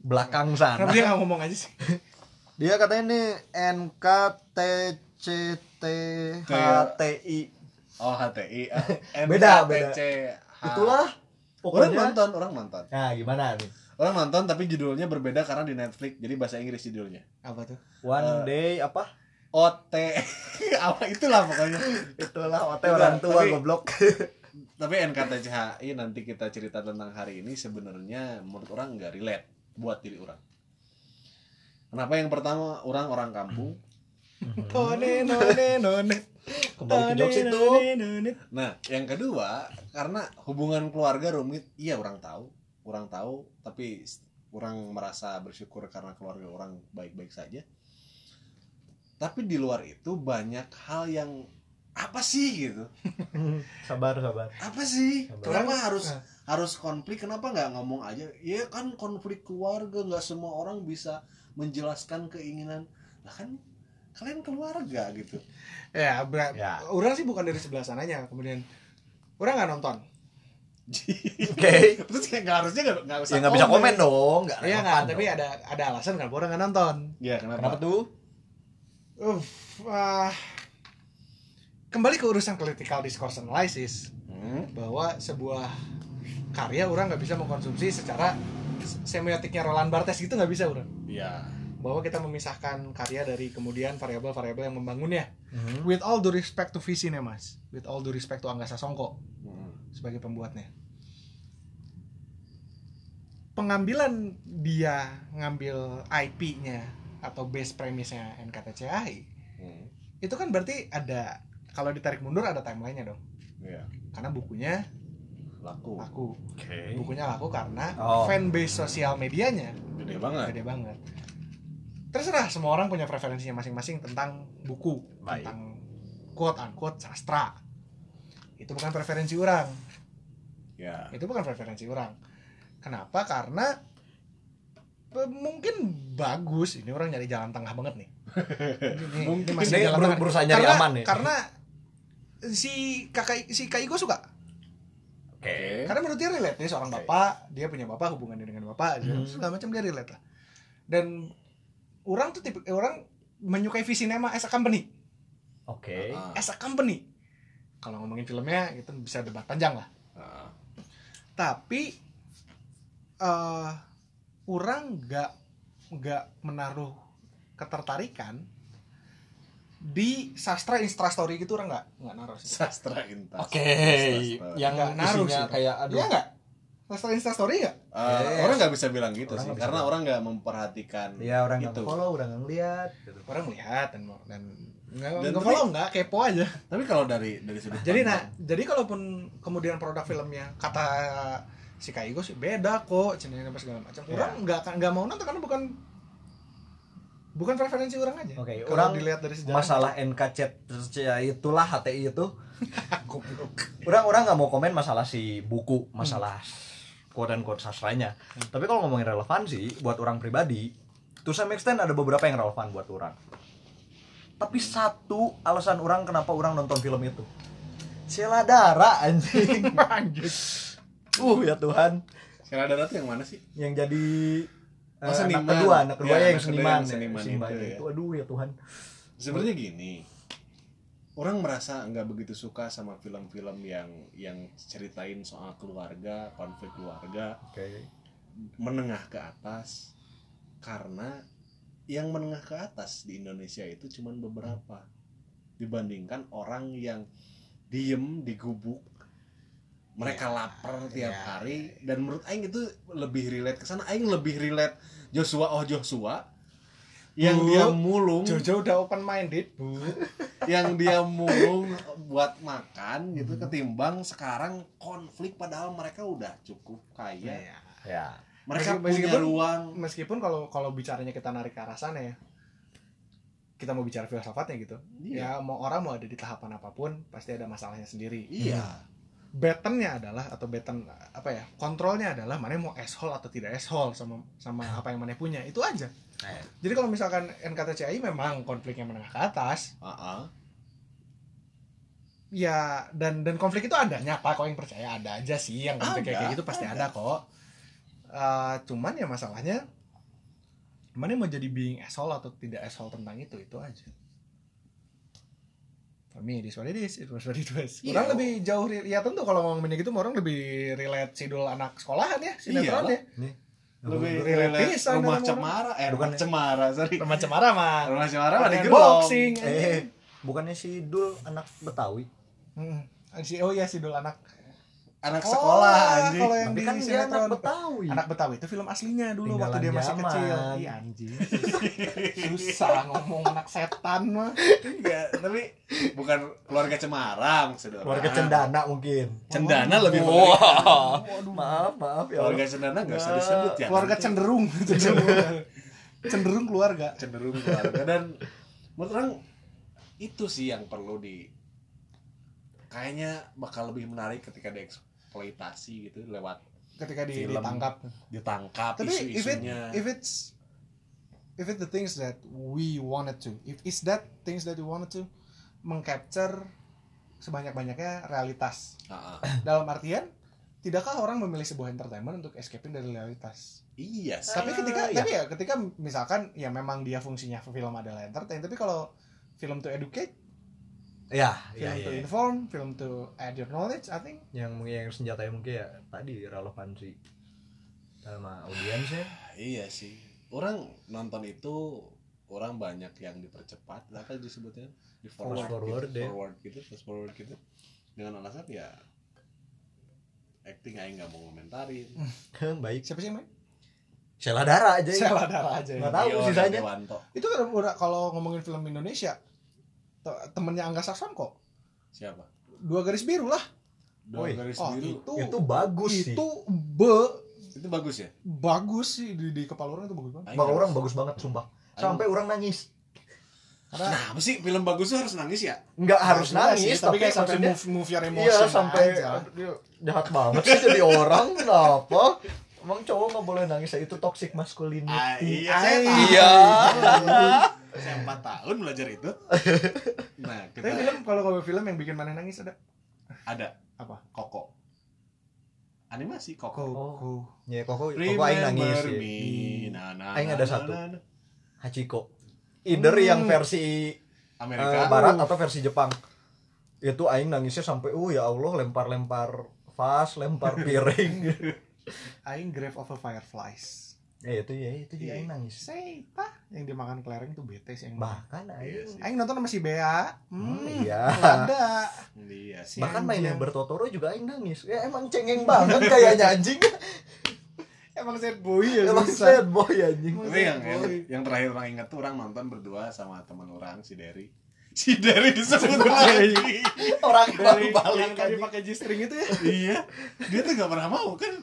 belakang sana
Kenapa dia nggak ngomong aja sih?
Dia katanya ini NKTCTHTI.
Oh HTI
Beda, beda.
NKTCH.
Ah.
Itulah
Orang
pokoknya.
nonton Orang nonton
Nah, gimana nih?
Orang nonton tapi judulnya berbeda karena di Netflix Jadi bahasa Inggris judulnya
Apa tuh? Ah.
One day apa?
OT Apa itulah pokoknya
Itulah OT
Enggak,
orang tua
tapi-
goblok.
Tapi NKTCHI nanti kita cerita tentang hari ini sebenarnya menurut orang nggak relate Buat diri orang Kenapa yang pertama orang orang kampung
None none none.
Kembali ke Hmm. jokes itu.
None, none.
Nah, yang kedua, karena hubungan keluarga rumit, iya orang tahu, orang tahu, tapi s- orang merasa bersyukur karena keluarga orang baik-baik saja. Tapi di luar itu banyak hal yang apa sih gitu?
sabar, sabar.
Apa sih?
Sabar.
Kenapa harus
Ah.
harus konflik? Kenapa nggak ngomong aja? Ya kan konflik keluarga nggak semua orang bisa menjelaskan keinginan. Lah kan kalian keluarga gitu.
Ya, ber-
Ya.
orang sih bukan dari sebelah sananya. Kemudian orang nggak nonton.
Oke.
Terus kayak nggak harusnya nggak nggak usah
Ya nggak bisa komen dong, nggak
Iya
relevan
nggak, tapi
dong.
ada ada alasan kenapa orang nggak nonton.
Ya kenapa?
Kenapa tuh?
Uff, ah. kembali ke urusan critical discourse analysis
Hmm?
bahwa sebuah karya orang nggak bisa mengkonsumsi secara s- semiotiknya Roland Barthes gitu nggak bisa orang
Ya.
bahwa kita memisahkan karya dari kemudian variabel-variabel yang membangunnya
Hmm.
with all due respect to V Cinemas with all due respect to Angga Sasongko
Hmm.
sebagai pembuatnya. Pengambilan dia ngambil IP-nya atau base premisnya NKTCAI
Hmm.
itu kan berarti ada kalau ditarik mundur ada timelinenya dong
Ya,
karena bukunya
laku.
laku
Oke.
bukunya laku karena
Oh. Eh.
fanbase sosial medianya
Gede banget.
gede banget terserah semua orang punya preferensinya masing-masing tentang buku
Baik.
tentang quote unquote sastra itu bukan preferensi orang
Ya.
itu bukan preferensi orang kenapa karena pe- mungkin bagus ini orang nyari jalan tengah banget nih ini,
Mungkin
masih
dia
jalan
ber-
tengah.
berusaha nyari
karena,
aman ya.
karena si kakak si kak Igo suka
Oke.
Eh, karena menurut dia relate dia seorang bapak dia punya bapak hubungannya dengan bapak
Hmm.
segala macam dia relate lah dan orang tuh tipe eh, orang menyukai visi cinema as a company
Oke.
Ah,
as a company kalau ngomongin filmnya itu bisa debat panjang lah
ah.
tapi eh orang nggak nggak menaruh ketertarikan di sastra instastory gitu orang nggak nggak naruh sih.
sastra intas
Oke, iya.
Sastra.
yang
Nggak naruh
isinya
sih.
kayak aduh.
Iya nggak? Sastra instastory nggak?
Eh,
Yes.
orang nggak bisa bilang gitu
Orang
sih
nggak bisa
karena
bilang.
orang nggak memperhatikan
Iya, orang nggak
Gitu.
itu
follow udah nggak ngeliat gitu.
Orang melihat dan dan nggak
Dan
nggak
tapi-
follow nggak kepo aja.
tapi kalau dari dari sudut
Jadi nah,
pandang-
jadi kalaupun kemudian produk filmnya kata si Kak Igo sih beda kok, cenderung apa segala macam. Orang nggak akan nggak mau nonton karena bukan bukan preferensi orang aja.
Oke,
Kalau
orang
dilihat dari sejarah.
Masalah NKCTC itulah HTI itu.
Ah, Goblok.
Orang-orang nggak mau komen masalah si buku, masalah
Hmm.
quote and quote sastranya. Tapi kalau ngomongin relevansi buat orang pribadi, to some extent ada beberapa yang relevan buat orang. Tapi satu alasan orang kenapa orang nonton film itu. Sela darah anjing. uh ya Tuhan,
Sela Dara tuh yang mana sih
yang jadi eh,
Oh, seniman.
anak kedua, anak
Iya,
kedua yang
anak kedua
seniman,
yang
ya,
seniman itu ya.
itu. Aduh ya Tuhan.
sebenarnya gini orang merasa nggak begitu suka sama film-film yang yang ceritain soal keluarga konflik keluarga
Oke.
menengah ke atas karena yang menengah ke atas di Indonesia itu cuman beberapa dibandingkan orang yang diem digubuk mereka lapar tiap
ya.
hari dan menurut Aing itu lebih relate ke sana Aing lebih relate Joshua oh Joshua yang
Bu,
dia mulung
Jojo udah open minded, Bu.
yang dia mulung buat makan gitu ketimbang sekarang konflik padahal mereka udah cukup kaya
Iya.
Ya.
mereka
Meskipun-
punya
meskipun-
ruang
Meskipun kalau kalau bicaranya kita narik ke arah sana ya. Kita mau bicara filsafatnya gitu.
iya
Ya mau orang mau ada di tahapan apapun pasti ada masalahnya sendiri.
iya
battennya adalah atau batten apa ya kontrolnya adalah mana mau asshole atau tidak asshole sama sama apa yang mana punya itu aja
Eh.
jadi kalau misalkan NKTCI memang konfliknya menengah ke atas
Ah, ah.
ya dan dan konflik itu adanya apa kok yang percaya ada aja sih yang konflik kayak-
Ada,
kayak gitu pasti ada, kok Eh, cuman ya masalahnya mana mau jadi being asshole atau tidak asshole tentang itu itu aja kami di what it is, it was what it was.
Iya.
Orang lebih jauh, ri- ya tentu kalau ngomongin gitu, orang lebih relate sidul anak sekolahan ya,
Iyalah.
sinetron ya.
lebih
Relate
relate rumah
pisan sama orang.
cemara eh rumah
Bukan ya.
cemara sorry
Teman cemara mah.
rumah cemara mah di gerobok
Boxing.
Eh, bukannya si Dul anak Betawi?
Hmm. Si- Oh iya sidul anak.
anak
Oh,
sekolah anjing
Kalau yang
Tapi
di
kan dia
sinetron.
anak Betawi.
Anak Betawi itu film aslinya dulu
Tinggalan
waktu dia masih
zaman.
kecil. Iya anjing. Susah ngomong anak setan mah.
Enggak, iya, tapi bukan keluarga cemara maksud orang.
Keluarga cendana mungkin.
cendana lebih
Wah.
mengerikan.
Waduh, maaf, maaf ya.
keluarga cendana nggak usah disebut ya
Keluarga
nanti.
cenderung. cenderung. cenderung keluarga.
cenderung keluarga dan menurut orang itu sih yang perlu di kayaknya bakal lebih menarik ketika dieksploitasi gitu lewat
Ketika di,
Film.
ditangkap.
ditangkap
Tapi if it
isu-isunya
if it's if it's the things that we wanted to, if is that things that we wanted to mengcapture sebanyak-banyaknya realitas.
Ah, ah.
Dalam artian, tidakkah orang memilih sebuah entertainment untuk escaping dari realitas?
iya sih
tapi ketika
iya.
tapi ya ketika misalkan ya memang dia fungsinya film adalah entertain tapi kalau film to educate
Ya,
film to inform film to add your knowledge I think
Yang yang senjatanya mungkin ya tadi relevansi sama ya. audiensnya.
iya sih orang nonton itu orang banyak yang dipercepat apa disebutnya di forward,
Fast forward,
gitu,
ya.
forward gitu fast forward gitu dengan alasan ya acting aing nggak mau komentarin
Baik.
siapa sih yang main?
Sela darah aja. ya.
Sheila Dara aja ya.
Nggak tahu
Rio
sisanya.
Dewanto.
itu kan udah kalau ngomongin film Indonesia te- temennya Angga Sakson kok
siapa
dua garis biru lah
Dua
Woi.
garis
oh
biru
itu
Itu bagus sih.
itu be
itu bagus ya
bagus sih di, di kepala orang itu bagus
Aing
banget
Bang
nggak-
orang bagus banget sumpah. Sampai orang nangis.
karena
Kenapa sih film bagus tuh harus nangis ya?
Enggak harus
Enggak sih,
nangis,
tapi kayak sampai
maksudnya-
move move your emotion
Iya sampai
aja.
aduh, jahat banget sih jadi orang kenapa? Emang cowok nggak boleh nangis ya itu toxic masculinity.
Ah, iya, saya
Ay,
tahu.
Iya.
Saya empat tahun belajar itu. Nah,
tapi
kita
film kalau kalau film yang bikin mana nangis ada
ada
Apa?
Koko. Animasi Koko.
Koko
Ya kok kok aing nangis.
Remember
ya.
me. Nah, nah,
Aing
nah,
ada
nah,
satu. Eh,
nah, nah.
Hachiko. Either
Hmm.
yang versi
Amerika.
eh, barat atau versi Jepang. Itu aing nangisnya sampai uh ya Allah lempar-lempar vas, lempar piring.
Aing Grave of a Fireflies.
ya itu ya itu juga
Iya.
yang nangis
Seita yang dimakan kelereng tuh bete sih yang
bahkan
Iya
aing
sih.
Aing nonton sama si Bea.
Hmm,
Hmm,
iya.
Ada.
Iya sih.
Si
bahkan main
anjing.
yang bertotoro juga aing nangis ya emang cengeng banget kayaknya anjing
Emang sad boy ya
emang
susah.
sad boy anjing
Tapi yang, yang, yang terakhir orang ingat tuh orang nonton berdua sama teman orang si Derry. Si Derry disebut lagi.
orang baru
Dari
balik
yang tadi
anjing.
pakai G-string itu ya.
iya. Dia tuh gak pernah mau kan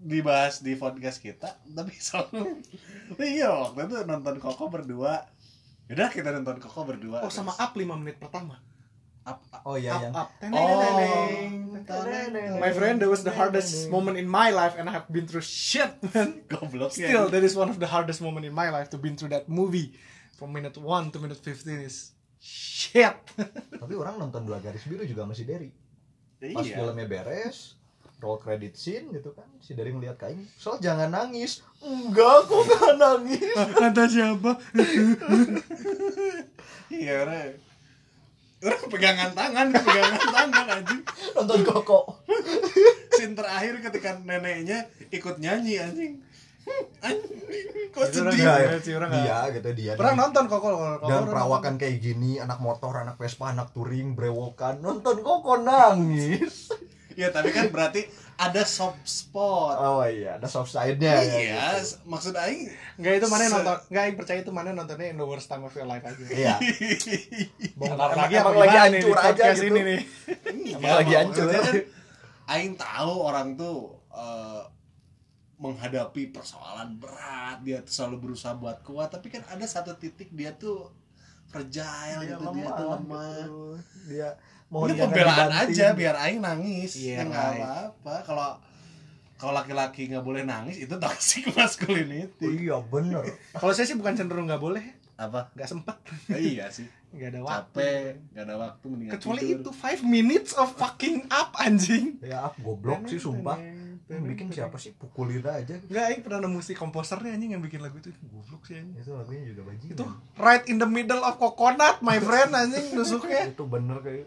dibahas di podcast kita, tapi selalu iya waktu itu nonton Koko berdua. Udah kita nonton Koko berdua.
Oh sama
Terus
up 5 menit pertama.
Up- Up.
oh
Up
iya yang
up.
Oh.
My friend, that was the hardest moment in my life and I have been through shit, man.
Goblok sih.
Still, that is one of the hardest moment in my life to been through that movie. From minute 1 to minute 15 is shit.
tapi orang nonton dua garis biru juga masih Derry pas ya.
Iya.
filmnya beres roll credit scene gitu kan si dari ngeliat kain soal jangan nangis enggak aku nggak nangis
Kata siapa?
Iya, orang. Orang pegangan tangan, pegangan tangan anjing.
nonton koko
Scene terakhir ketika neneknya ikut nyanyi anjing. Hmm, Anjing, kok
Itu orang
sedih.
nggak-
Iya,
si orang
dia gitu dia
Pernah
nih.
nonton kok kalau
dan perawakan kayak gini anak motor anak vespa anak touring brewokan nonton koko nangis
Ya, tapi kan berarti ada soft spot.
oh iya ada soft side nya
iya,
gitu.
s- maksud aing
Enggak itu mana yang
Se-
nonton? Enggak yang percaya itu mana yang nontonnya in the worst time of your life aja.
iya
Bongkar
Emang-
lagi
emang
apa
lagi
gimana nih di
hancur aja
podcast
gitu.
ini nih. Iya,
Enggak,
lagi
mau-
hancur.
iya,
ya.
maksudnya kan aing tahu orang tuh eh, menghadapi persoalan berat, dia tuh selalu berusaha buat kuat, tapi kan ada satu titik dia tuh fragile
dia
gitu, dia tuh lemah.
gitu. dia
Ini
dia nggak
pembelaan
dibanting.
aja biar aing nangis.
Iya,
Ya enggak
Rai.
apa-apa. Kalau kalau laki-laki nggak boleh nangis itu toxic masculinity.
iya bener
Kalau saya sih bukan cenderung nggak boleh,
Apa?
nggak sempet,
Eh, iya sih.
nggak ada waktu.
Capek, nggak ada waktu mendingan
Kecuali
tidur.
itu 5 minutes of fucking up anjing.
ya goblok sih sumpah Hmm, bikin siapa sih pukulin aja gitu.
Enggak, Aing pernah nemu si komposernya anjing yang bikin lagu itu goblok sih anjing.
itu lagunya juga bajingan
Itu right in the middle of coconut, my friend anjing nusuknya.
itu bener kayak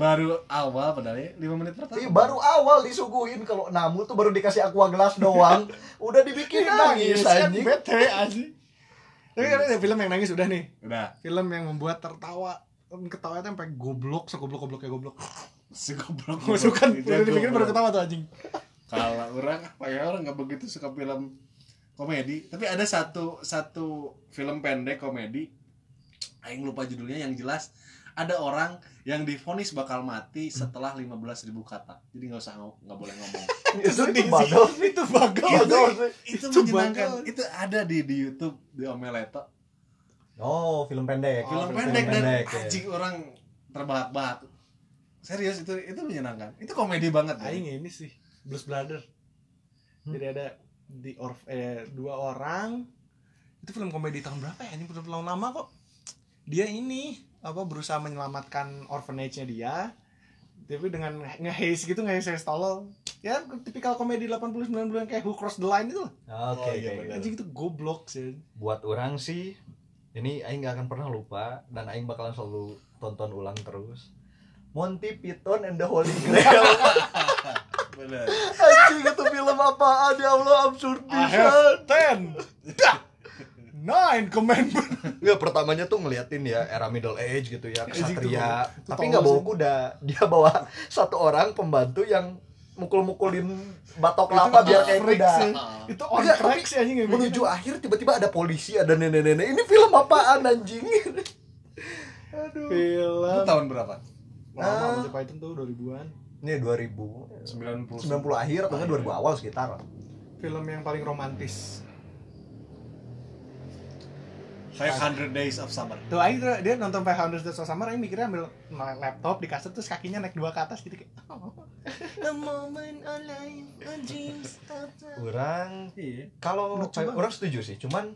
baru awal padahal ya, 5 menit pertama.
Ih, Iya, baru awal disuguhin kalau namu tuh baru dikasih aqua glass doang Iya, udah dibikin nangis
kan
anjing
bete anjing. Tapi kan ada film yang nangis udah nih.
Udah,
Film yang membuat tertawa ketawa itu sampai goblok segoblok-gobloknya goblok.
segoblok.
Masukan udah dibikin baru ketawa tuh anjing.
Kalau orang apa ya orang nggak begitu suka film komedi, tapi ada satu satu film pendek komedi aing lupa judulnya yang jelas ada orang yang difonis bakal mati setelah 15.000 kata. Jadi nggak usah ngomong, nggak boleh ngomong.
itu
Sedih
itu
sih.
bagel
Itu bagel.
Bagel sih.
itu
Itu
menyenangkan.
banget.
Itu ada di di YouTube di Omeleto.
oh film pendek
Oh,
Film
film
pendek dan
pendek, ya.
anjing orang terbahak-bahak. Serius itu itu menyenangkan. Itu komedi banget. ya.
Aing ini sih Blues Brother.
Hmm.
Jadi ada di orf eh dua orang itu film komedi tahun berapa ya? Ini belum belum lama kok. Dia ini apa berusaha menyelamatkan orphanage-nya dia tapi dengan nge-haze gitu nge-haze tolol ya tipikal komedi 80 90 yang kayak Who Crossed the Line itu lah
oke
Oh, iya,
oke.
bener.
anjing itu goblok sih
buat orang sih ini aing gak akan pernah lupa dan aing bakalan selalu tonton ulang terus Monty Python and the Holy Grail
Bener.
Anjing itu film apaan ya Allah absurd
I
pisan
have 10 9 commandment
Nggak, pertamanya tuh ngeliatin ya era middle age gitu ya kesatria
Iya Itu tolol
tapi nggak bawa
sih.
kuda dia bawa satu orang pembantu yang mukul-mukulin batok kelapa biar kayak
freak
kuda Ah.
sih. itu on
Nggak,
track
tapi
sih anjing yang bikin.
menuju akhir tiba-tiba ada polisi ada nenek-nenek ini film apaan anjing
Itu
film
tahun berapa?
lama
Ah.
Monty Python tuh 2000-an
ini
90
2000 90 akhir atau nggak 2000 awal sekitar
film yang paling romantis
500 Days of Summer.
tuh Aing tuh- dia nonton 500 Days of Summer Aing mikirnya ambil laptop di kaset terus kakinya naik dua ke atas gitu kayak oh. The moment of life, a dream starts.
orang
Iya.
kalau
Lucu banget.
orang setuju sih cuman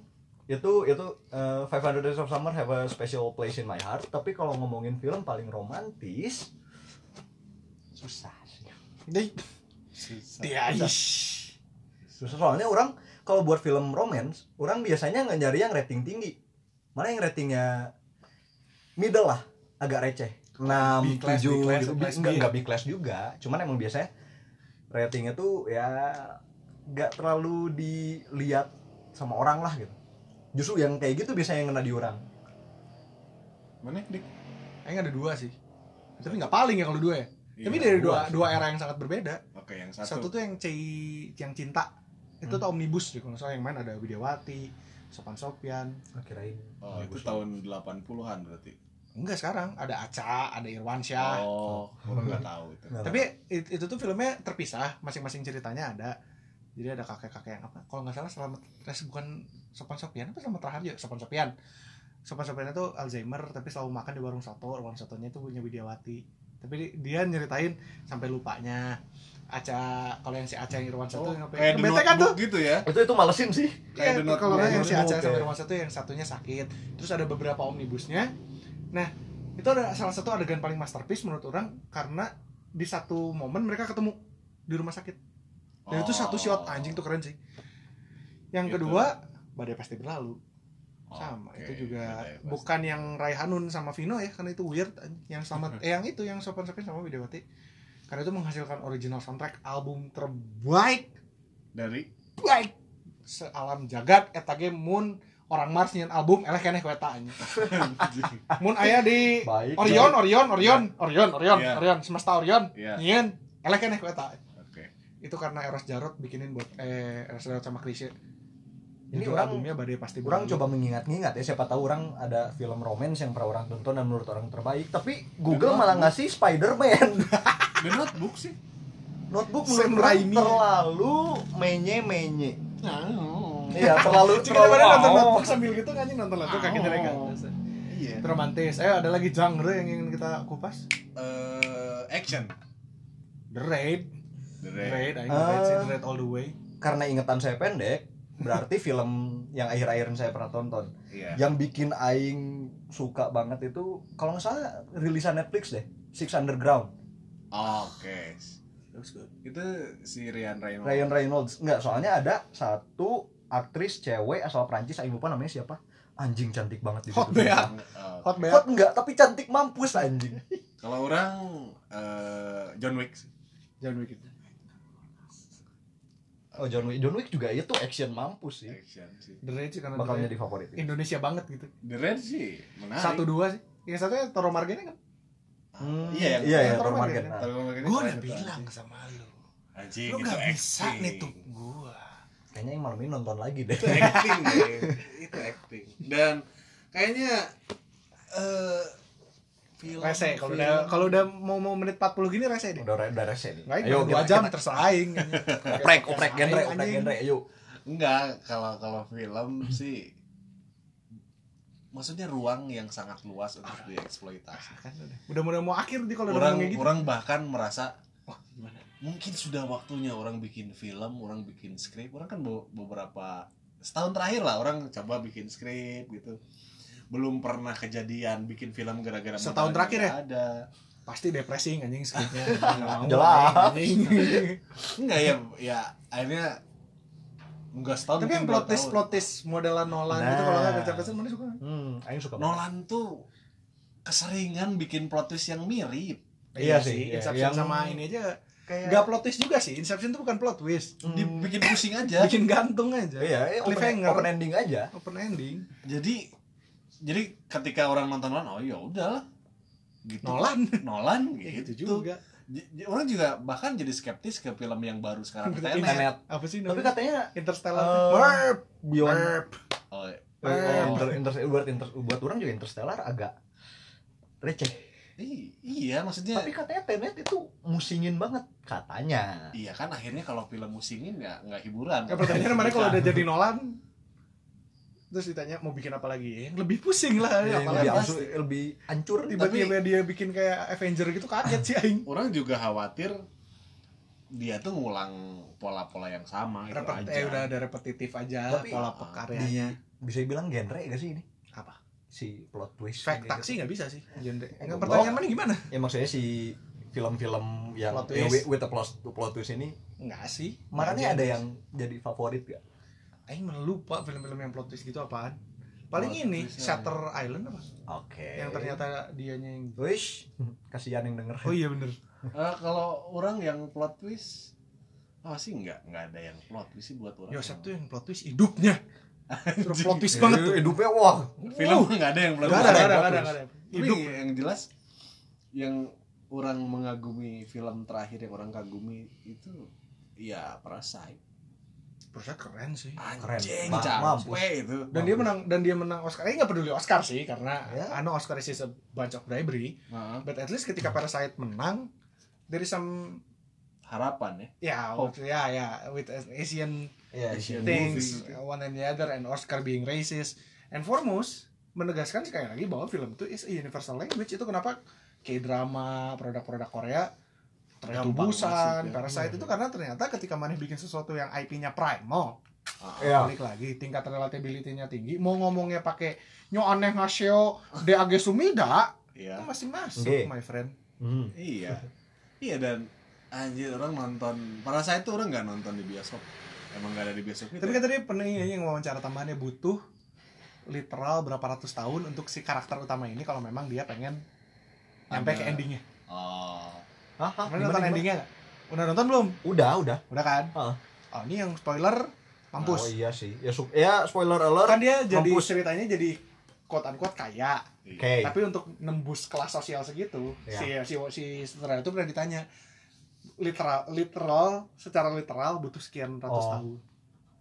itu itu eh, 500 Days of Summer have a special place in my heart tapi kalau ngomongin film paling romantis susah sih
Dih, dia
Susah. susah soalnya orang kalau buat film romance orang biasanya nggak nyari yang rating tinggi mana yang ratingnya middle lah agak receh 6,
B class, B class,
7 gitu.
B class,
Nggak-
B.
nggak B class juga cuman emang biasanya ratingnya tuh ya nggak terlalu dilihat sama orang lah gitu justru yang kayak gitu biasanya yang kena di orang
Mana dik? Kayaknya ada dua sih. Tapi nggak paling ya kalau dua ya. Tapi
Iya.
dari
dua
dua dua era yang sangat berbeda.
Oke, yang
Satu, Hmm.
satu.
tuh yang C yang cinta. Itu tuh omnibus deh kalau nggak salah yang main ada Widiawati, Sopan Sopian.
kirain
Oh, itu tahun 80-an berarti.
Enggak sekarang ada Aca, ada Irwansyah.
Oh, orang nggak tahu itu.
tapi
Tapi it- itu tuh filmnya terpisah, masing-masing ceritanya ada. Jadi ada kakek-kakek yang apa? Kalau nggak salah selamat res bukan Sopan Sopian apa selamat Raharjo, Sopan Sopian. Sopan Sopian itu Alzheimer tapi selalu makan di warung soto, warung sotonya itu punya Widiawati. Tapi di- dia nyeritain sampai lupanya. Aca kalau yang si Aca yang Irwan
Oh,
Soto yang apa?
kayak
yang
The
bete kan tuh?
Notebook gitu ya.
itu itu malesin sih
kayak
Iya,
The Notebook.
kalau nggak yang si
Notebook,
Aca sama
ya.
Irwan Soto yang satunya sakit. Terus ada beberapa omnibusnya. Nah, itu ada salah satu adegan paling masterpiece menurut orang karena di satu momen mereka ketemu di rumah sakit. Dan itu
Oh.
satu shot anjing tuh keren sih. Yang
Gitu.
kedua, badai pasti berlalu.
Oh,
Sama,
oke.
itu juga
Badai pasti.
bukan yang Raihanun sama Vino ya, karena itu weird yang sama eh, yang itu yang Sopan Sopian sama Widawati. Karena itu menghasilkan original soundtrack album terbaik
dari
baik sealam jagat eta ge mun orang Mars nyen album eleh keneh ku eta anjing. Mun aya di
baik
Orion, Orion, Orion, Orion, Orion,
Iya.
Orion, semesta Orion.
Iya.
Nyen eleh keneh ku eta.
Oke.
Itu karena Eros Jarot bikinin buat eh Eros Jarot sama Krisye. Ini
Ini orang-
albumnya badai pasti
Orang
berlalu.
coba mengingat-ingat ya, siapa tahu orang ada film romance yang pernah orang tonton dan menurut orang terbaik. Tapi Google malah ngasih Spider-Man.
The Notebook sih.
Notebook
Sam
menurut orang
Raimi.
terlalu menye-menye.
Nah,
Iya, terlalu
Cik, kita
terlalu
baru nonton
wow.
notebook sambil gitu kan anjing, nonton notebook kakinya naik ke
Oh.
atas.
Iya.
Itu romantis. Eh ada lagi genre yang ingin kita kupas.
Eh, action.
The Raid.
The
The
Raid.
Raid, aing The Raid sih,
Ah.
The Raid all the way.
Karena ingatan saya pendek, berarti film yang akhir-akhir saya pernah tonton
Iya.
Ya.
yang bikin aing suka banget itu kalau nggak salah rilisan Netflix deh, Six Underground.
Oke.
Looks good.
Itu si Ryan Reynolds.
Ryan Reynolds. Enggak, soalnya ada satu aktris cewek asal Prancis, aing lupa namanya siapa. Anjing cantik banget di
Hot
situ.
Bea.
Oh.
Hot Bear.
Hot enggak, tapi cantik mampus anjing.
Kalau orang eh, John Wick. sih.
Jangan mikir.
Oh John Wick, John Wick juga itu action mampus
Iya.
sih.
Action sih.
The Raid sih karena
Bakal
The
jadi favorit.
Raid Indonesia banget gitu.
The Raid sih
Nah,
menarik.
Satu
iya.
dua sih. Yang satunya Toro Margene kan.
Ah,
Hmm,
Iya yang
iya
yang
ya, Thor
Thor
Margen.
Margen.
Kalau ngomongin
Gua
keren
udah
itu
bilang
anjing.
sama lu.
Anjing
Iya
Lu
gitu,
itu
gak bisa
acting.
nih tuh gua.
Kayaknya yang malam ini nonton lagi deh.
Itu acting, deh. Itu acting. Dan kayaknya eh film
Rese kalau
film-
udah kalau udah mau mau menit 40 gini rese deh.
Udah re- udah rese nih.
Baik, Ayo, dua jam terserah aing.
Oprek, oprek oh, genre, oprek
Anjing.
genre. Ayo.
Enggak, kalau kalau film sih maksudnya ruang yang sangat luas untuk dieksploitasi.
Kan udah. Udah-udah mau akhir nih Ah. kalau udah
Orang
ngomong kayak gitu.
orang bahkan merasa
Wah, gimana?
mungkin sudah waktunya orang bikin film, orang bikin skrip. Orang kan be- beberapa setahun terakhir lah orang coba bikin skrip gitu. Belum pernah kejadian bikin film gara-gara modalnya
Setahun terakhir ya?
nggak Ada.
Pasti depressing anjing skripnya. Nggak mau,
Jelas.
anjing.
Enggak ya, ya akhirnya enggak setahun
Tapi
mungkin
yang
dua
plot twist
tahun.
plot twist modelan Nolan gitu
Nah.
kalau nggak kerja-kerja mana suka.
Hmm, aing suka banget.
Nolan tuh keseringan bikin plot twist yang mirip.
Iya sih, iya.
Inception
Yang-
sama ini aja
Kayak
Gak plot twist juga sih, Inception tuh bukan plot twist
Hmm.
dibikin pusing aja
Bikin gantung aja
Iya, iya, open,
cliffhanger.
open ending aja.
Open ending
jadi jadi ketika orang nonton Nolan oh ya udahlah gitu
Nolan
Nolan
Kayak
gitu,
gitu juga
J- j- orang juga bahkan jadi skeptis ke film yang baru sekarang
Iya.
tenet
Internet.
Apa sih
Tapi
namanya?
katanya
Interstellar
eh, Beyond
Merp.
oh,
Oh,
Eh,
inter, inter- buat inter- buat orang juga interstellar agak receh.
i- iya maksudnya
Tapi katanya Tenet itu musingin banget katanya.
iya kan akhirnya kalau film musingin ya nggak hiburan
Ya pertanyaannya mana kalau udah jadi Nolan Terus ditanya mau bikin apa lagi Yang lebih pusing lah ya,
Ya, yang
apalagi
lebih,
pasti.
angsur- lebih ya, hancur
Tiba-tiba dia bikin kayak Avenger gitu kaget sih Aing
orang juga khawatir dia tuh ngulang pola-pola yang sama itu
Repet,
aja
eh, udah ada repetitif aja
Gitu Tapi-
Ah,
pola pekaryanya
bisa bilang genre gak sih ini?
Apa?
Si plot twist.
Fact
kayak gitu. Iya,
taksi nggak bisa sih genre. Yang
goblok.
pertanyaan mana gimana?
gitu. Ya maksudnya si film-film yang
Plot
yang
twist.
with, with the plot, plot twist ini
Enggak sih Nggak
makanya ada
jadi.
yang jadi favorit gak?
Aing malah lupa film-film yang plot twist gitu apaan. Paling
Plot
ini
twistnya.
Shutter Island apa?
Oke.
Yang ternyata dianya yang
wish kasihan yang denger.
Oh iya bener
Eh, kalau orang yang plot twist Oh sih nggak nggak ada yang plot twist sih buat orang.
Yosep tuh yang plot twist hidupnya. Terus plot twist banget tuh.
Eh, hidupnya wah
film mah nggak ada yang plot
Gak ada,
twist.
gak ada,
plot
gak ada,
twist.
gak ada.
Tapi
Hidup.
yang jelas yang orang mengagumi film terakhir yang orang kagumi itu ya Parasite.
Prosesnya keren sih.
Anjing
Mampus.
capek itu.
Dan dia menang dan dia menang Oscar. Eh nggak peduli Oscar sih karena
Ya.
ano Oscar is a bunch of bribery.
Nah,
But at least ketika Parasite menang dari some
harapan ya.
ya
Hope.
ya ya with an Asian
Iya,
Asian
things uh,
movie.
one and the other and Oscar being racist and foremost menegaskan sekali lagi bahwa film itu is a universal language itu kenapa kayak drama produk-produk Korea ternyata
Gampang
busan
masuk ya.
parasite itu karena ternyata ketika maneh bikin sesuatu yang IP-nya primal
Ya.
Iya.
balik lagi tingkat relatability-nya tinggi mau ngomongnya pakai nyo aneh ngasio de age sumida
Iya.
itu masih masuk
Nggih.
my friend
Hmm.
Iya. iya dan anjir orang nonton Parasite tuh orang nggak nonton di bioskop. Emang nggak ada di bioskop gitu.
tapi
ya?
kan tadi pernah yang wawancara tambahannya butuh literal berapa ratus tahun untuk si karakter utama ini kalau memang dia pengen nyampe
Ada.
ke endingnya
Oh.
Hah,
Kemarin
hah, gimana,
nonton
gimana?
endingnya nggak? Udah nonton belum?
Udah, udah.
Udah kan?
Heeh.
Oh ini yang spoiler
Oh
mampus.
iya sih. Ya, su- ya spoiler alert.
Kan dia jadi
Mampus.
ceritanya jadi quote unquote kaya.
Oke.
iya.
Tapi untuk nembus kelas sosial segitu,
Iya.
si si si sutradara itu pernah ditanya literal literal secara literal butuh sekian ratus
Oh,
tahun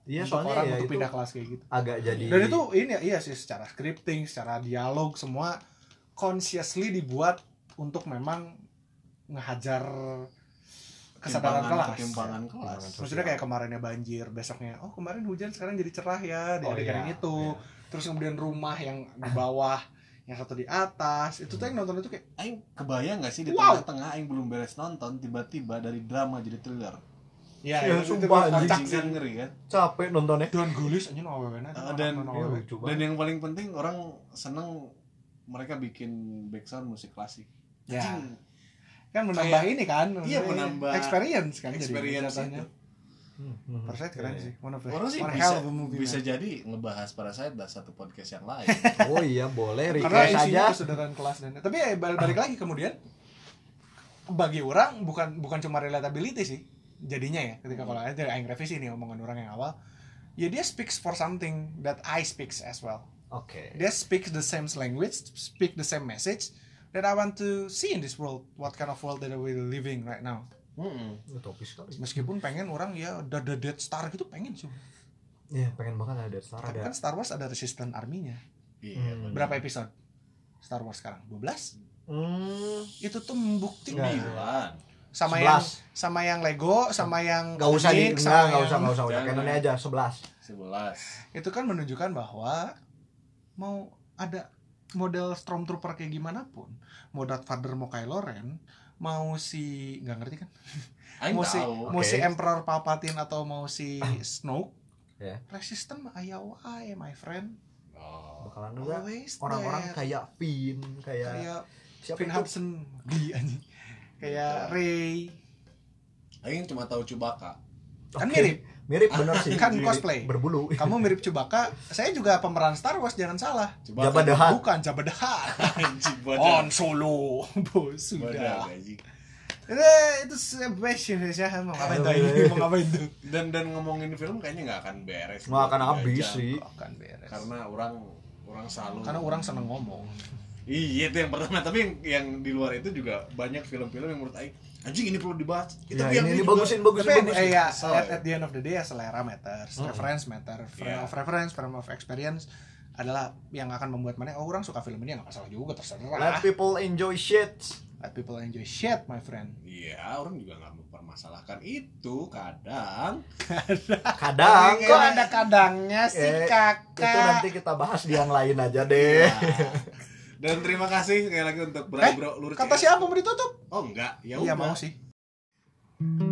Iya,
untuk orang
soalnya ya
untuk
itu
pindah kelas kayak gitu.
agak jadi Oh,
Dan itu ini iya sih secara scripting, secara dialog semua consciously dibuat untuk memang ngehajar kesadaran
Ketimpangan-
kelas.
Ketimpangan kelas.
Ketimpangan.
Maksudnya kayak kemarinnya banjir, besoknya oh kemarin hujan sekarang jadi cerah ya di
Oh,
adegan
iya,
itu.
iya.
Terus kemudian rumah yang di bawah, yang satu di atas. Itu tuh yang nonton itu kayak
Iya. Aing kebayang gak sih di
Wow.
tengah-tengah Aing belum beres nonton tiba-tiba dari drama jadi thriller.
ya,
Iya,
itu- itu
sumpah,
kocak
Anjing
sih.
kan ngeri kan.
capek nontonnya.
Don Gulis anjing awewena
Ah, dan-
Iya, lucu
Dan
banget.
yang paling penting orang seneng mereka bikin background musik klasik.
Ya.
Anjing,
kan menambah ini kan
Iya,
maksudnya
menambah
experience kan jadi
experience
jatuhnya.
itu.
Hmm, hmm.
Parasite keren
Iya,
sih. One of the
Orang sih
one
bisa,
hell of a movie.
bisa
man.
jadi ngebahas Parasite dah satu podcast yang lain.
iya. Oh iya, boleh
Karena
request aja.
isinya kesadaran kelas dan tapi ya balik, balik lagi kemudian bagi orang bukan bukan cuma relatability sih jadinya ya ketika kalau ada aing revisi nih omongan orang yang awal ya dia speaks for something that I speaks as well
Oke.
dia speaks the same language speak the same message that I want to see in this world what kind of world that we living right now
Mm-mm.
Utopis sekali.
meskipun pengen orang ya the, the Dead Star gitu pengen sih
Iya, pengen banget ada Star
tapi
ada.
kan Star Wars ada resistance arminya
Iya. bener.
Hmm.
berapa episode Star Wars sekarang 12
Hmm.
itu tuh membuktikan
Nggak.
Sembilan.
sama yang sama yang
11.
Lego, sama yang
Gak usah di,
Nick, sama
enggak, enggak usah,
yang-
enggak usah, udah
Jangan.
Canonnya aja 11.
Sebelas.
Itu kan menunjukkan bahwa mau ada model stormtrooper kayak gimana pun, mau Darth Vader mau Kylo Ren, mau si nggak ngerti kan?
Aing
mau si
tahu.
mau
oke. Ah.
si Emperor Palpatine atau mau si Snoke,
Ya.
resisten mah aya wae, my friend.
Oh.
Bakalan juga
Always there.
orang-orang kayak Finn, kayak,
Iya, kayak
siapa
Finn
itu? Ya.
Hudson, geli anjing. Kayak Rey,
Aing cuma tahu Chewbacca.
kan
Oke.
mirip.
Mirip bener sih.
Kan
Mirip,
cosplay. Kan-
Berbulu.
Kamu mirip Chewbacca, saya juga pemeran Star Wars jangan salah.
Jabba the Hutt.
Bukan Jabba the Hutt.
Anjing
On
badan.
Solo, bos Oh, sudah.
Badan, anjing.
Eh, itu sebastian ya, mau ngapain tuh ini? Mau ngapain tuh?
Dan dan ngomongin film kayaknya nggak akan beres.
Nggak akan
Tiga
habis
Iya,
jam.
sih.
Akan Oh, kan beres. Karena,
Karena orang orang selalu
orang seneng ngomong.
Iya itu yang pertama, tapi yang, yang di luar itu juga banyak film-film yang menurut Aing anjing ini perlu dibahas. gitu. Itu
Ya,
yang
ini, ini bagusin, bagusin,
Tapi
bagusin.
eh, ya,
Kesel,
at,
ya.
at the end of the day ya selera matters, reference matter, frame
Iya.
of reference, frame of experience adalah yang akan membuat mana oh orang suka film ini nggak masalah juga
Let
terserah
people enjoy shit.
let people enjoy shit my friend
Iya, orang juga nggak mempermasalahkan itu kadang.
Kadang
kok ada kadangnya
Eh,
sih
Itu
kakak
nanti kita bahas di yang lain aja deh.
Iya.
Nah, Dan terima kasih sekali lagi untuk Bro
Eh. Eh,
Bro Lurus.
kata
CS.
siapa mau ditutup
Oh enggak, ya udah.
iya mau sih